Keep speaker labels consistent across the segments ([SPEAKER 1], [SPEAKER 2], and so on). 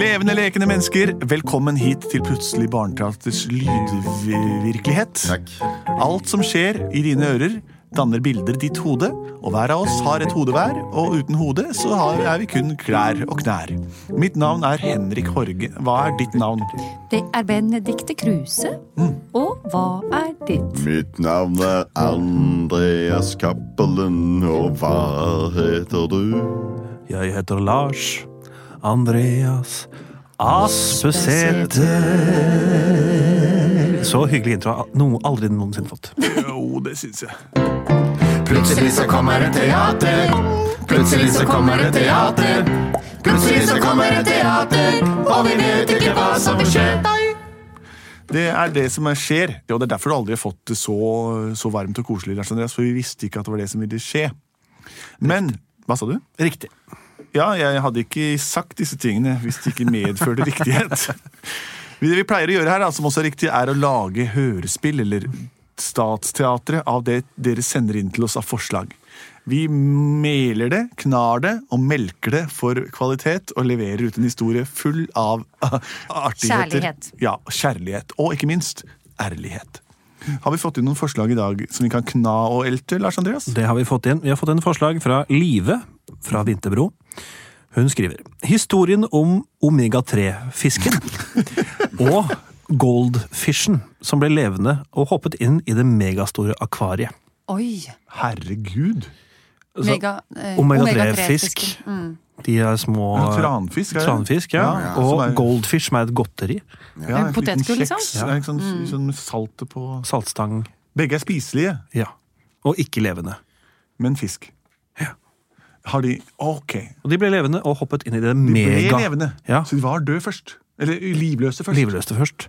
[SPEAKER 1] Levende, lekende mennesker, velkommen hit til Plutselig barneteaters lydvirkelighet.
[SPEAKER 2] Takk.
[SPEAKER 1] Alt som skjer i dine ører, danner bilder i ditt hode, og hver av oss har et hode hver, og uten hode så har, er vi kun klær og knær. Mitt navn er Henrik Horge. Hva er ditt navn?
[SPEAKER 3] Det er Benedicte Kruse.
[SPEAKER 1] Mm.
[SPEAKER 3] Og hva er ditt?
[SPEAKER 2] Mitt navn er Andreas Cappelen, og hva heter du?
[SPEAKER 4] Jeg heter Lars Andreas Aspesæter. Så hyggelig intro. har Noe aldri noensinne fått.
[SPEAKER 1] Jo, det syns jeg.
[SPEAKER 5] Plutselig så kommer det teater. Plutselig så kommer det teater. Plutselig så kommer det teater, og vi vet ikke hva som vil skje.
[SPEAKER 1] Det er det som er- skjer. Ja, det er derfor du aldri har fått det så, så varmt og koselig, Lars Andreas, for vi visste ikke at det var det som ville skje. Men Hva sa du?
[SPEAKER 4] Riktig.
[SPEAKER 1] Ja, jeg hadde ikke sagt disse tingene hvis det ikke medførte riktighet. Det vi pleier å gjøre her, da, som også er riktig, er å lage hørespill eller statsteatret av det dere sender inn til oss av forslag. Vi meler det, knar det og melker det for kvalitet og leverer ut en historie full av artigheter.
[SPEAKER 3] Kjærlighet.
[SPEAKER 1] Ja, kjærlighet. Og ikke minst ærlighet. Har vi fått inn noen forslag i dag som vi kan kna og elte, Lars Andreas?
[SPEAKER 4] Det har vi fått inn. Vi har fått inn forslag fra Live fra Vinterbro. Hun skriver historien om omega-3-fisken og goldfishen som ble levende og hoppet inn i det megastore akvariet.
[SPEAKER 3] Oi!
[SPEAKER 1] Herregud!
[SPEAKER 4] Altså,
[SPEAKER 3] Mega, eh,
[SPEAKER 4] Omega-3-fisk. De er små
[SPEAKER 1] Ja, tranfisk, er det?
[SPEAKER 4] Tranfisk, ja.
[SPEAKER 1] Ja, ja,
[SPEAKER 4] Og
[SPEAKER 1] som er-
[SPEAKER 4] goldfish, som er et godteri.
[SPEAKER 1] Ja, en liten
[SPEAKER 3] potetgull,
[SPEAKER 1] kjeks.
[SPEAKER 3] liksom?
[SPEAKER 1] Ja. Sånn, sånn saltet på
[SPEAKER 4] Saltstang.
[SPEAKER 1] Begge er spiselige,
[SPEAKER 4] Ja. Og ikke levende.
[SPEAKER 1] men fisk.
[SPEAKER 4] Ja.
[SPEAKER 1] Har de Ok.
[SPEAKER 4] Og de ble levende og hoppet inn i
[SPEAKER 1] De
[SPEAKER 4] det
[SPEAKER 1] ble
[SPEAKER 4] mega
[SPEAKER 1] levende,
[SPEAKER 4] Ja,
[SPEAKER 1] så de var døde først. Eller livløse først.
[SPEAKER 4] Livløste først.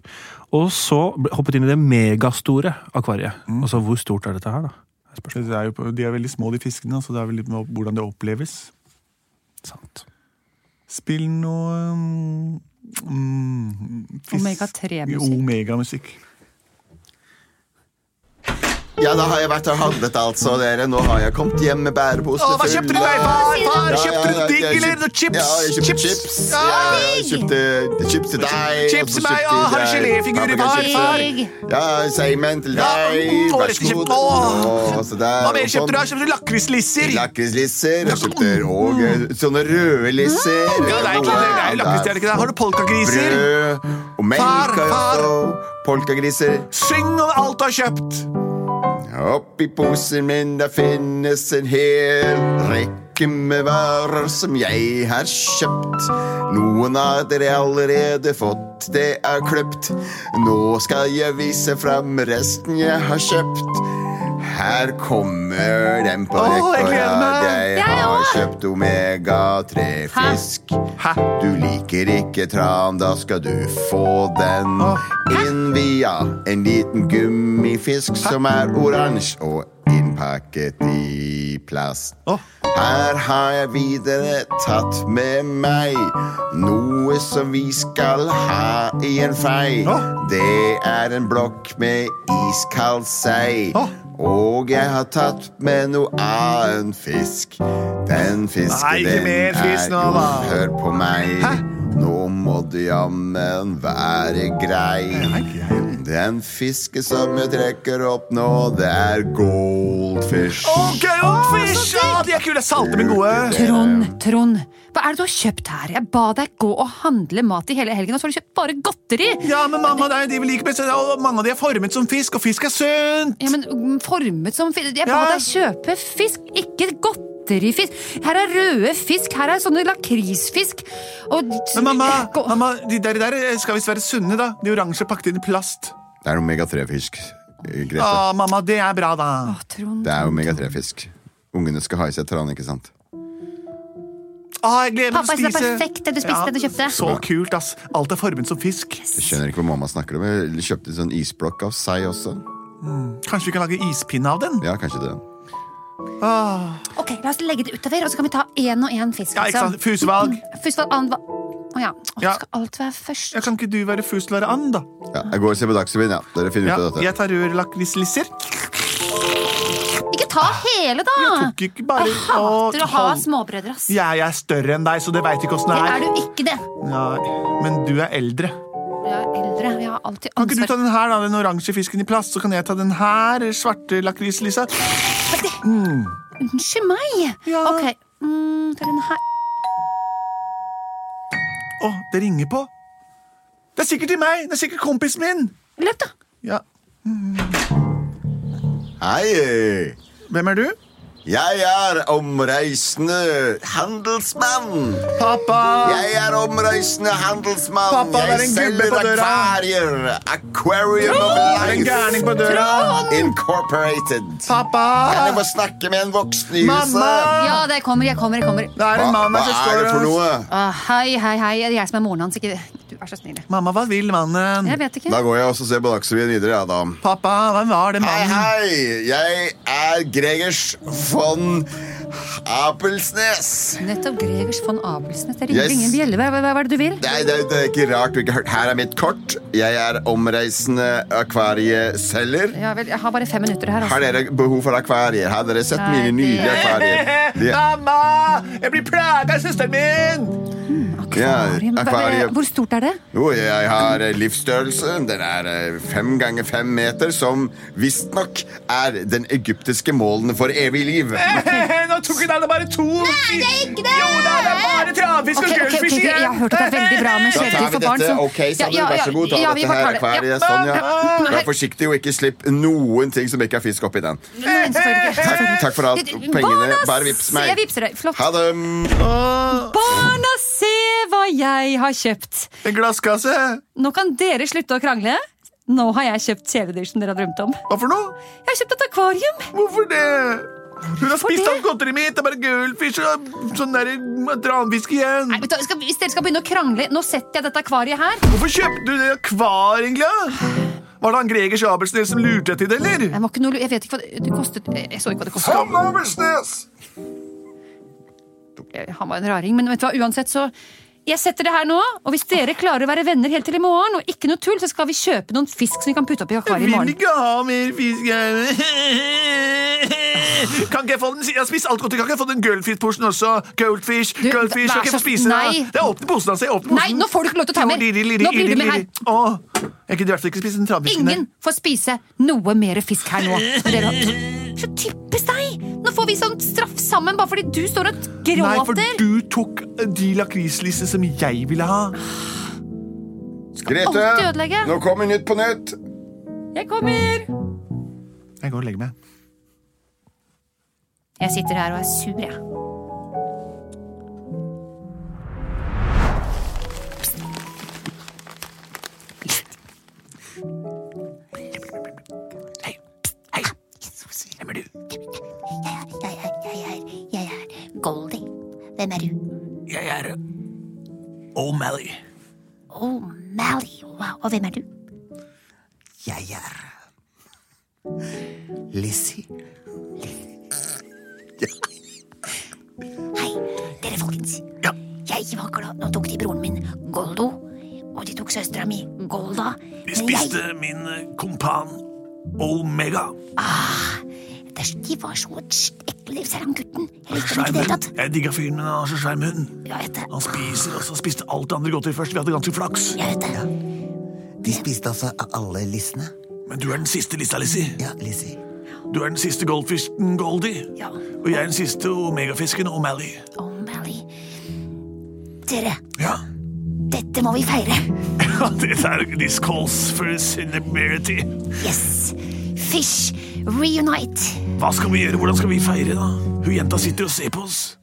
[SPEAKER 4] Og så ble- hoppet inn i det megastore akvariet.
[SPEAKER 1] Mm.
[SPEAKER 4] Altså, hvor stort er dette her, da? Er spørsmålet.
[SPEAKER 1] Det er jo, på- de er veldig små, de fiskene, så det er vel litt med hvordan det oppleves.
[SPEAKER 4] Sant.
[SPEAKER 1] Spill noe um, mm, fisk-
[SPEAKER 3] Omega-3-musikk.
[SPEAKER 1] Omega-musikk.
[SPEAKER 2] Ja, da har jeg vært og handlet, altså, dere. Nå har jeg kommet hjem med bærepose
[SPEAKER 1] Å, hva kjøpte du,
[SPEAKER 2] full av-
[SPEAKER 1] deg, far? Far,
[SPEAKER 2] Ja,
[SPEAKER 1] kjøpte
[SPEAKER 2] ja,
[SPEAKER 1] du digg,
[SPEAKER 2] jeg
[SPEAKER 1] eller?
[SPEAKER 2] kjøpte-
[SPEAKER 1] Chips?
[SPEAKER 2] Ja, jeg kjøpte
[SPEAKER 1] Chips?
[SPEAKER 2] chips. Ja, jeg kjøpte chips til deg.
[SPEAKER 1] Chips til
[SPEAKER 2] og så
[SPEAKER 1] meg,
[SPEAKER 2] kjøpte
[SPEAKER 1] å, har du
[SPEAKER 2] jeg
[SPEAKER 1] geléfigurer,
[SPEAKER 2] paprika-
[SPEAKER 1] far,
[SPEAKER 2] chips.
[SPEAKER 1] far?
[SPEAKER 2] Ja, seigmenn til deg.
[SPEAKER 1] å,
[SPEAKER 2] Vær
[SPEAKER 1] jeg
[SPEAKER 2] så
[SPEAKER 1] skal
[SPEAKER 2] god.
[SPEAKER 1] kjøpe- å.
[SPEAKER 2] Å, så der,
[SPEAKER 1] Hva mer
[SPEAKER 2] og
[SPEAKER 1] kjøpte du?
[SPEAKER 2] sånn.
[SPEAKER 1] da? Kjøpte du Lakrislisser?
[SPEAKER 2] Lakrislisser. Jeg kjøpte og eh, sånne røde lisser.
[SPEAKER 1] Ja, det er ikke det. det er jo lakris, det er det ikke det. Har du polkagriser?
[SPEAKER 2] Brød og melk
[SPEAKER 1] Far,
[SPEAKER 2] har jeg
[SPEAKER 1] far.
[SPEAKER 2] også. Polkagriser.
[SPEAKER 1] Syng om alt du har kjøpt!
[SPEAKER 2] Oppi posen min der finnes en hel rekke med varer som jeg har kjøpt. Noen har dere allerede fått, det er kløpt. Nå skal jeg vise fram resten jeg har kjøpt. Her kommer den på
[SPEAKER 1] Åh, jeg
[SPEAKER 2] rekke og
[SPEAKER 1] gleder meg.
[SPEAKER 2] rad. Jeg har kjøpt omega-3-fisk.
[SPEAKER 1] Hæ?
[SPEAKER 2] Du liker ikke tran, da skal du få den inn via en liten gummifisk som er oransje og innpakket i plast.
[SPEAKER 1] Å.
[SPEAKER 2] Her har jeg videre tatt med meg noe som vi skal ha i en fei.
[SPEAKER 1] Å.
[SPEAKER 2] Det er en blokk med iskald sei.
[SPEAKER 1] Å.
[SPEAKER 2] Og jeg har tatt med noe annen fisk. Den
[SPEAKER 1] Nei, ikke
[SPEAKER 2] fisken, den
[SPEAKER 1] mer fisk
[SPEAKER 2] er
[SPEAKER 1] nå,
[SPEAKER 2] jo
[SPEAKER 1] da.
[SPEAKER 2] Hør på meg. Nå må du jammen være grei. Den fisken som jeg trekker opp nå, det er goldfish.
[SPEAKER 1] Oh, goldfish! Ja, de er kule! Salte, men gode.
[SPEAKER 3] Trond, Trond, hva er det du har kjøpt her? Jeg ba deg gå og handle mat i hele helgen, og så har du kjøpt bare godteri!
[SPEAKER 1] Ja, men mamma, det er de vi liker best. Og mange av de er formet som fisk, og fisk er sunt!
[SPEAKER 3] Ja, men mm, formet som fisk Jeg ba
[SPEAKER 1] Ja.
[SPEAKER 3] deg kjøpe fisk, ikke godterifisk. Her er røde fisk, her er sånne lakrisfisk. Og
[SPEAKER 1] Men mamma,
[SPEAKER 3] Gå-
[SPEAKER 1] mamma de der, der skal visst være sunne, da. De oransje pakket inn i plast.
[SPEAKER 2] Det er omega-3-fisk, eh,
[SPEAKER 1] Å,
[SPEAKER 2] Grete.
[SPEAKER 1] mamma, det er bra, da.
[SPEAKER 3] Å, Trond.
[SPEAKER 2] Det er omega-3-fisk. Ungene skal ha i seg tran, ikke sant?
[SPEAKER 1] Ah, jeg gleder meg
[SPEAKER 3] Pappa,
[SPEAKER 1] til å
[SPEAKER 3] det er
[SPEAKER 1] spise!
[SPEAKER 3] perfekt det du spiste, det du kjøpte.
[SPEAKER 1] Så kult, ass. Alt er formet som fisk.
[SPEAKER 2] Jeg skjønner ikke hva mamma snakker om. Jeg kjøpte en sånn isblokk av sei også.
[SPEAKER 1] Kanskje vi kan lage ispinne av den?
[SPEAKER 2] Ja, kanskje det.
[SPEAKER 3] Ok, La oss legge det utover, og så kan vi ta én og én fisk. liksom.
[SPEAKER 1] Ja, ikke sant? Fusvalg.
[SPEAKER 3] Først var annen var... Å ja. Å,
[SPEAKER 1] Ja.
[SPEAKER 3] Skal alt være først?
[SPEAKER 1] Ja, kan ikke du være fuslare and, da?
[SPEAKER 2] Ja, jeg går og ser på Dagsrevyen, ja. Dere finner
[SPEAKER 1] Ja,
[SPEAKER 2] ut av dette.
[SPEAKER 1] jeg tar rødlakrislisser.
[SPEAKER 3] Ikke ta hele, da!
[SPEAKER 1] Ah. Jeg tok ikke bare
[SPEAKER 3] Jeg hater å ha
[SPEAKER 1] Hold-
[SPEAKER 3] småbrødre, ass.
[SPEAKER 1] Ja, jeg er større enn deg, så det veit ikke åssen
[SPEAKER 3] Det
[SPEAKER 1] det
[SPEAKER 3] er
[SPEAKER 1] er.
[SPEAKER 3] du ikke det.
[SPEAKER 1] Nei, men du er eldre.
[SPEAKER 3] Jeg er eldre. Jeg har alltid
[SPEAKER 1] Kan ikke du ta
[SPEAKER 3] ansvar.
[SPEAKER 1] den her, da, den oransje fisken i plast, så kan jeg ta den her svarte lakrislisa?
[SPEAKER 3] Unnskyld meg!
[SPEAKER 1] Ja.
[SPEAKER 3] Ok. Mm, ta den her.
[SPEAKER 1] Å, det ringer på. Det er sikkert til meg! Det er sikkert kompisen min!
[SPEAKER 3] Løp, da!
[SPEAKER 1] Ja,
[SPEAKER 2] Hei!
[SPEAKER 1] Hvem er du?
[SPEAKER 2] Jeg er omreisende handelsmann!
[SPEAKER 1] Pappa!
[SPEAKER 2] Jeg er omreisende handelsmann.
[SPEAKER 1] Pappa, det er
[SPEAKER 2] jeg
[SPEAKER 1] en gubbe
[SPEAKER 2] selger
[SPEAKER 1] på døra.
[SPEAKER 2] akvarier. Aquarium of
[SPEAKER 1] Det er en gærning
[SPEAKER 2] Life
[SPEAKER 1] på døra!
[SPEAKER 2] Incorporated.
[SPEAKER 1] Pappa!
[SPEAKER 2] Kan jeg få snakke med en voksen i huset?
[SPEAKER 1] Mamma!
[SPEAKER 3] Ja, det kommer, jeg kommer, jeg kommer.
[SPEAKER 1] Det er en mann
[SPEAKER 2] hva
[SPEAKER 1] her som
[SPEAKER 2] er
[SPEAKER 1] står
[SPEAKER 2] det for noe?
[SPEAKER 3] Ah, hei, hei, hei. Det er jeg som er moren hans, ikke du. Vær så snill.
[SPEAKER 1] Mamma, hva vil mannen?
[SPEAKER 3] Jeg vet ikke.
[SPEAKER 2] Da går jeg også og ser på Dagsrevyen videre. Ja, da.
[SPEAKER 1] Pappa, hva var det
[SPEAKER 2] Hei,
[SPEAKER 1] mannen?
[SPEAKER 2] hei! Jeg er Gregers von Apelsnes.
[SPEAKER 3] Nettopp Gregers von Abelsnes. Det
[SPEAKER 2] Yes.
[SPEAKER 3] ringer ingen bjelle. Hva, hva, hva er det du vil?
[SPEAKER 2] Nei, det, det er ikke rart du ikke har hørt. Her er mitt kort. Jeg er omreisende akvarieselger.
[SPEAKER 3] Ja vel, jeg har bare fem minutter her.
[SPEAKER 2] Har
[SPEAKER 3] Altså.
[SPEAKER 2] dere behov for akvarier? Har dere sett
[SPEAKER 3] Nei,
[SPEAKER 2] mine
[SPEAKER 3] det-
[SPEAKER 2] nydelige akvarier? De-
[SPEAKER 1] Mamma! Jeg blir plaga av søsteren min!
[SPEAKER 3] Akvarium.
[SPEAKER 2] Ja,
[SPEAKER 3] Hva- hva-
[SPEAKER 2] akvarium.
[SPEAKER 3] Hvor stort er det?
[SPEAKER 2] Jo, jeg har eh, livsstørrelse. Den er eh, fem ganger fem meter, som visstnok er den egyptiske målene for evig liv.
[SPEAKER 1] Nå tok hun alle bare to Nei, det er ikke det! Jo da, det er bare travfisk
[SPEAKER 3] Ok, ok, ok, ok, Jeg har hørt at det er veldig bra med
[SPEAKER 2] Da
[SPEAKER 3] kjæledyr
[SPEAKER 2] tar vi
[SPEAKER 3] for barn.
[SPEAKER 2] dette.
[SPEAKER 3] så-
[SPEAKER 2] Ok, Sander, vær så god. Ta
[SPEAKER 3] ja, vi
[SPEAKER 2] dette
[SPEAKER 3] bare
[SPEAKER 2] her
[SPEAKER 3] tar det.
[SPEAKER 2] akvariet.
[SPEAKER 3] Ja.
[SPEAKER 2] Sånn, ja.
[SPEAKER 3] Ja.
[SPEAKER 2] Vær forsiktig og ikke slipp noen ting som ikke er fisk oppi den.
[SPEAKER 3] Nei, selvfølgelig ikke.
[SPEAKER 2] Takk, takk for alt.
[SPEAKER 3] Selvfølgelig ikke.
[SPEAKER 2] Pengene,
[SPEAKER 3] Barna,
[SPEAKER 2] bare vips meg.
[SPEAKER 3] Jeg vipser deg. Flott.
[SPEAKER 2] Ha det.
[SPEAKER 3] Barna, se hva jeg har kjøpt!
[SPEAKER 1] En glasskasse!
[SPEAKER 3] Nå kan dere slutte å krangle. Nå har jeg kjøpt kjæledyr som dere har drømt om.
[SPEAKER 1] Hva for noe?
[SPEAKER 3] Jeg har kjøpt et akvarium!
[SPEAKER 1] Hvorfor det? Hun har spist
[SPEAKER 3] det?
[SPEAKER 1] opp godteriet mitt! Det er bare gullfisk og sånn der tranfisk igjen!
[SPEAKER 3] Nei, vet du, hva, skal, vi- hvis dere skal begynne å krangle, nå setter jeg dette akvariet her.
[SPEAKER 1] Hvorfor kjøpte du det akvar, egentlig? da? Var det han Gregers Abelsnes som lurte etter det, eller?
[SPEAKER 3] Jeg, må ikke noe, lu- jeg vet ikke hva det, det kostet Jeg så ikke hva det kostet.
[SPEAKER 2] Tom Oversnes!
[SPEAKER 3] Eh, Han var en raring, men vet du hva, uansett så jeg setter det her nå, og Hvis dere klarer å være venner helt til i morgen, og ikke noe tull, så skal vi kjøpe noen fisk som vi kan putte opp i
[SPEAKER 1] Jeg
[SPEAKER 3] akvariet i
[SPEAKER 1] vil
[SPEAKER 3] morgen.
[SPEAKER 1] ikke ha mer fisk. jeg. Kan ikke jeg få den? Jeg har spist alt godt. Kan ikke jeg få den gullfiskposen også? Gullfish,
[SPEAKER 3] Du,
[SPEAKER 1] gullfish.
[SPEAKER 3] vær
[SPEAKER 1] Kan ikke jeg
[SPEAKER 3] så
[SPEAKER 1] få spise
[SPEAKER 3] snill.
[SPEAKER 1] den? Det er åpne posen, altså. Jeg åpner
[SPEAKER 3] Nei,
[SPEAKER 1] posen.
[SPEAKER 3] nå får du ikke lov til å ta mer.
[SPEAKER 1] Jo, lirri, lirri,
[SPEAKER 3] Nå blir
[SPEAKER 1] lirri,
[SPEAKER 3] du med
[SPEAKER 1] lirri. Åh, jeg kunne i hvert fall ikke spist den trabbisken.
[SPEAKER 3] Ingen får spise noe mer fisk her nå. For dere har... Så typisk deg! Nå får vi sånn straff sammen bare fordi du står og gråter.
[SPEAKER 1] Nei, for du tok eh, de lakrislissene som jeg ville ha.
[SPEAKER 2] Grete,
[SPEAKER 3] alltid ødelegge.
[SPEAKER 2] nå kommer Nytt på nytt.
[SPEAKER 3] Jeg kommer!
[SPEAKER 1] Jeg går og legger meg.
[SPEAKER 3] Jeg sitter her og er sur, jeg. Psst.
[SPEAKER 6] Jeg er, jeg er, jeg er Goldie. Hvem er du?
[SPEAKER 1] Jeg er O'Malley.
[SPEAKER 6] Oh, Mally. Wow. Og hvem er du?
[SPEAKER 7] Jeg er Lizzie.
[SPEAKER 6] Hei, dere folkens. Jeg var glad. Nå tok de broren min, Goldo. Og de tok søstera mi, Golda.
[SPEAKER 1] Vi
[SPEAKER 6] Men jeg,
[SPEAKER 1] spiste min kompan Omega.
[SPEAKER 6] Æsj, de var så ekle, selv han gutten. Jeg likte
[SPEAKER 1] Svær
[SPEAKER 6] dem ikke i det hele tatt.
[SPEAKER 1] munn. Jeg digga fyren, men han har så svær munn.
[SPEAKER 6] Jeg vet det.
[SPEAKER 1] Han spiser også, spiste alt det andre godteri først. Vi hadde ganske flaks.
[SPEAKER 6] Jeg vet det.
[SPEAKER 7] De spiste altså a- alle lissene.
[SPEAKER 1] Men du er den siste lista, Lizzie.
[SPEAKER 7] Ja, Lizzie.
[SPEAKER 1] Du er den siste goldfisken Goldie.
[SPEAKER 6] Ja.
[SPEAKER 1] Og jeg er den siste omegafisken O'Malley.
[SPEAKER 6] Oh, Mally. Dere,
[SPEAKER 1] Ja.
[SPEAKER 6] dette må vi feire.
[SPEAKER 1] Dette er This calls for celebrity.
[SPEAKER 6] Yes. Fish reunite.
[SPEAKER 1] Hva skal vi gjøre? Hvordan skal vi feire, da? Hun jenta sitter og ser på oss.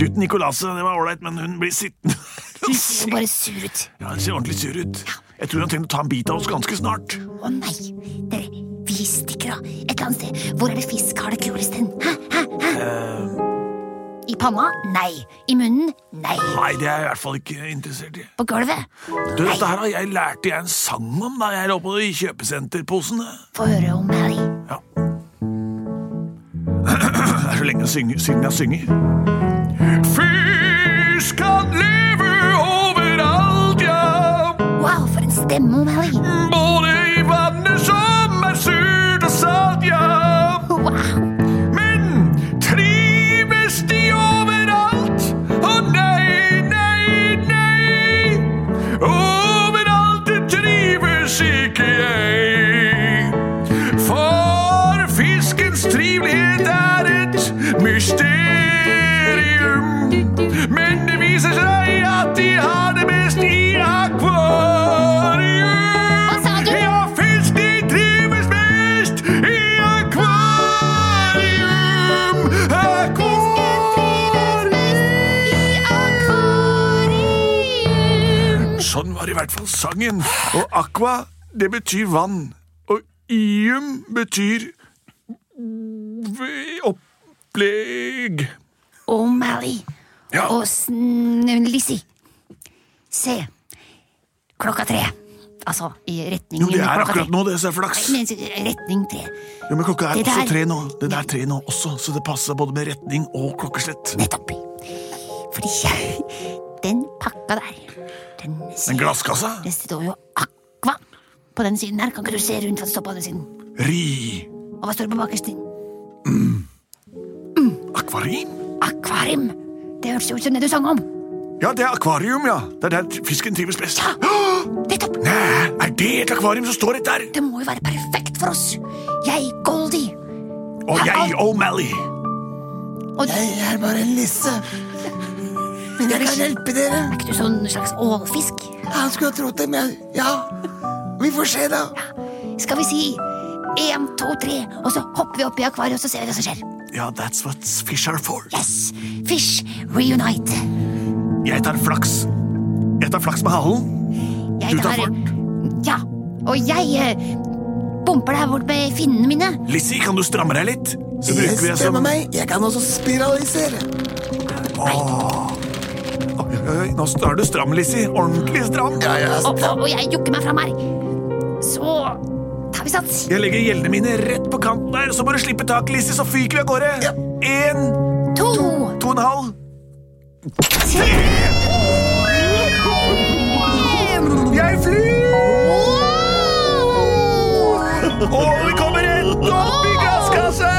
[SPEAKER 1] Gutten Nicolase, det var ålreit, men hun blir sittende.
[SPEAKER 6] Du ser jo bare sur ut.
[SPEAKER 1] Ja, Han ser ordentlig sur ut. Jeg tror han trenger å ta en bit av oss ganske snart.
[SPEAKER 6] Å nei, dere, vi stikker av et eller annet sted. Hvor er det fisk har det kulest hen? Hæ, hæ, hæ?
[SPEAKER 3] I panna? Nei. I munnen? Nei.
[SPEAKER 1] Nei, det er jeg i hvert fall ikke interessert i.
[SPEAKER 3] På gulvet?
[SPEAKER 1] Du, Dette her har jeg lærte jeg en sang om da jeg lå på de kjøpesenterposene.
[SPEAKER 3] Få høre om Harry.
[SPEAKER 1] Det er så lenge syng- siden jeg synger. Fisk kan leve overalt, ja.
[SPEAKER 3] Wow, for en stemme om Harry.
[SPEAKER 1] Både i vannet som er surt og salt, ja.
[SPEAKER 3] Wow.
[SPEAKER 1] Men trives de overalt? Å nei, nei, nei. Overalt trives ikke jeg. For fiskens trivelighet er et mysterium. Men det viser seg at de har det best i akvarium.
[SPEAKER 3] Hva sa du?
[SPEAKER 1] Ja, fisk de trives best i akvarium. Akvarium. Sånn var i hvert fall sangen. Og aqua, det betyr vann. Og ium betyr v- opplegg.
[SPEAKER 3] Om Harry.
[SPEAKER 1] Ja.
[SPEAKER 3] Og sn- eh, Lizzie. Se. Klokka tre. Altså, i retning
[SPEAKER 1] Jo, det er
[SPEAKER 3] klokka tre.
[SPEAKER 1] akkurat nå, det, så er flaks.
[SPEAKER 3] Men retning tre.
[SPEAKER 1] Ja, men klokka er
[SPEAKER 3] Det
[SPEAKER 1] også
[SPEAKER 3] der-
[SPEAKER 1] tre nå. Den er tre nå også, så det passer både med retning og klokkeslett.
[SPEAKER 3] Nettopp. Fordi den pakka der Den, ser-
[SPEAKER 1] En glasskasse.
[SPEAKER 3] Det står jo Aqua på den siden her. Kan ikke du se rundt hva det står på den siden?
[SPEAKER 1] Ri.
[SPEAKER 3] Og hva står det på bakerst?
[SPEAKER 1] Akvarium?
[SPEAKER 3] Akvarium! Det hørtes jo ut som det du sang om.
[SPEAKER 1] Ja, det er akvarium, ja. Det er der fisken trives best.
[SPEAKER 3] Ja. Nettopp!
[SPEAKER 1] Nei, er det et akvarium som står rett der?
[SPEAKER 3] Det må jo være perfekt for oss. Jeg, Goldie,
[SPEAKER 1] Og jeg, oh, O'Malley.
[SPEAKER 3] og Jeg er bare en lisse. Men jeg kan hjelpe dere. Er ikke du sånn slags ålfisk?
[SPEAKER 6] Han skulle ha trodd det, men ja. Vi får se, da.
[SPEAKER 3] Skal vi si én, to, tre, og så hopper vi opp i akvariet og så ser vi hva som skjer.
[SPEAKER 1] Ja, that's what fish are for.
[SPEAKER 3] Yes! Fish reunite.
[SPEAKER 1] Jeg tar flaks. Jeg tar flaks med halen.
[SPEAKER 3] Jeg
[SPEAKER 1] Du tar
[SPEAKER 3] Ja. Og jeg eh, bumper deg bort med finnene mine.
[SPEAKER 1] Lizzie, kan du stramme deg litt? Så
[SPEAKER 6] Jeg
[SPEAKER 1] bruker vi altså. sånn- det som
[SPEAKER 6] stemmer meg. Jeg kan også spiralisere.
[SPEAKER 1] Oi, oi, Nå er du stram, Lizzie. Ordentlig stram.
[SPEAKER 6] Ja, ja,
[SPEAKER 3] Og, og, og jeg jukker meg fram her. Så tar vi sats.
[SPEAKER 1] Jeg legger gjeldene mine rett på kanten der, så må du slippe tak, Lizzie, så fyker vi av gårde. En,
[SPEAKER 3] To!
[SPEAKER 1] to og en halv. Tre! Jeg flyr! Og vi kommer rett opp i glasskassa!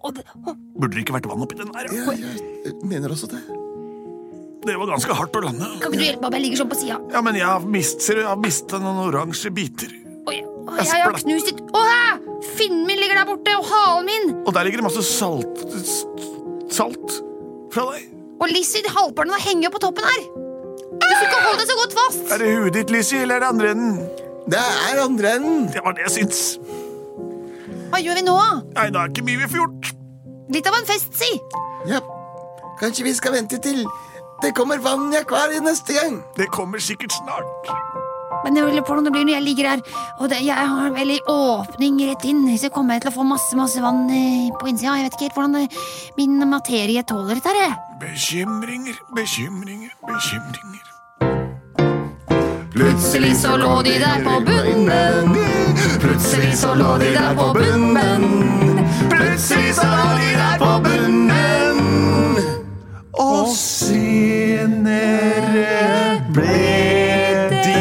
[SPEAKER 3] Og det- og-
[SPEAKER 1] Burde det ikke vært vann oppi den der?
[SPEAKER 6] ja, jeg mener også det.
[SPEAKER 1] Det var ganske hardt å lande.
[SPEAKER 3] Kan ikke du hjelpe meg om jeg ligger sånn på sida?
[SPEAKER 1] Ja, men jeg har mist, ser du, jeg har mistet noen oransje biter.
[SPEAKER 3] Og jeg, og
[SPEAKER 1] Jeg
[SPEAKER 3] jeg har
[SPEAKER 1] splatt.
[SPEAKER 3] knust litt Å, hæ! Finnen min ligger der borte, og halen min!
[SPEAKER 1] Og der ligger det masse salt s- Salt fra deg.
[SPEAKER 3] Og Lizzie, halvparten av henger jo på toppen her. Hvis du ikke holder deg så godt fast.
[SPEAKER 1] Er det huet ditt, Lizzie, eller er det andre enden?
[SPEAKER 6] Det er andre enden.
[SPEAKER 1] Det var det jeg syns.
[SPEAKER 3] Hva gjør vi nå?
[SPEAKER 1] Nei, det er ikke mye vi får gjort.
[SPEAKER 3] Litt av en fest, si.
[SPEAKER 6] Ja. Kanskje vi skal vente til det kommer vann i akvariet neste gang.
[SPEAKER 1] Det kommer sikkert snart.
[SPEAKER 3] Men jeg lurer på hvordan det blir når jeg ligger her. Og det, jeg har en veldig åpning rett inn, så kommer jeg til å få masse masse vann eh, på innsida. Jeg vet ikke helt hvordan det, min materie tåler dette. her, jeg.
[SPEAKER 1] Bekymringer, bekymringer, bekymringer.
[SPEAKER 2] Plutselig så lå de der på bunnen. Plutselig så lå de der på bunnen. Plutselig så lå de der på bunnen.
[SPEAKER 1] Og senere ble de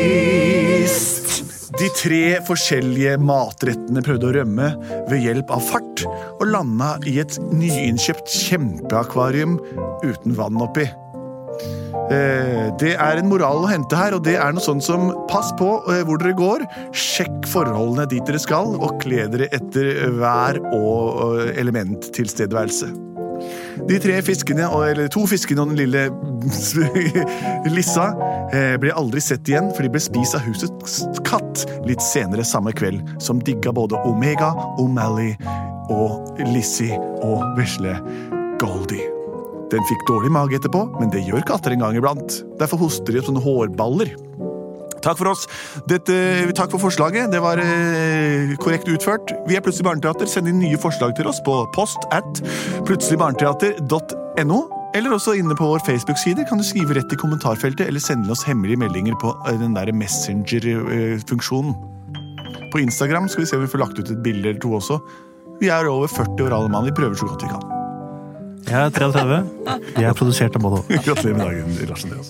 [SPEAKER 1] spist. De tre forskjellige matrettene prøvde å rømme ved hjelp av fart, og landa i et nyinnkjøpt kjempeakvarium uten vann oppi. Eh, Det er en moral å hente her, og det er noe sånn som pass på eh, hvor dere går, sjekk forholdene dit dere skal, og kle dere etter vær og eh, elementtilstedeværelse. De tre fiskene, og- eller to fiskene og den lille Lissa eh, ble aldri sett igjen, for de ble spist av husets katt litt senere samme kveld, som digga både Omega, O'Malley og Lizzie og vesle Goldie. Den fikk dårlig mage etterpå, men det gjør katter en gang iblant. Derfor hoster de opp sånne hårballer. Takk for oss. Dette, takk for forslaget. Det var eh, korrekt utført. Vi er Plutselig barneteater. Send inn nye forslag til oss på post at plutseligbarneteater.no. Eller også inne på vår Facebook-side kan du skrive rett i kommentarfeltet eller sende oss hemmelige meldinger på eh, den der Messenger-funksjonen. På Instagram skal vi se om vi får lagt ut et bilde eller to også. Vi er over 40 år alle mann. Vi prøver så godt vi kan.
[SPEAKER 4] Jeg er 33. Jeg er produsert av både og.
[SPEAKER 1] Gratulerer med dagen, Lars Andreas.